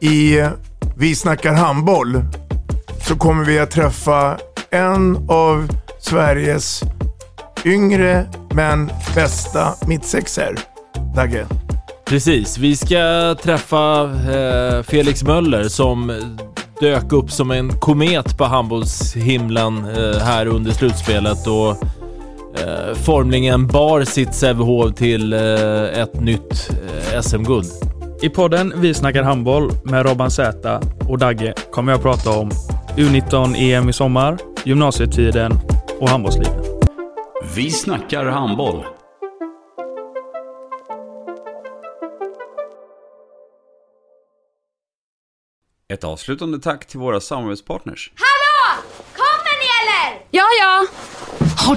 i Vi snackar handboll så kommer vi att träffa en av Sveriges yngre men bästa mittsexer. Dagge. Precis, vi ska träffa eh, Felix Möller som dök upp som en komet på handbollshimlen eh, här under slutspelet och eh, formligen bar sitt Sävehof till eh, ett nytt eh, SM-guld. I podden Vi snackar handboll med Robban Z och Dagge kommer jag prata om U19-EM i sommar, gymnasietiden och handbollslivet. Vi snackar handboll. Ett avslutande tack till våra samarbetspartners. Hallå! Kommer ni eller? Ja, ja. Har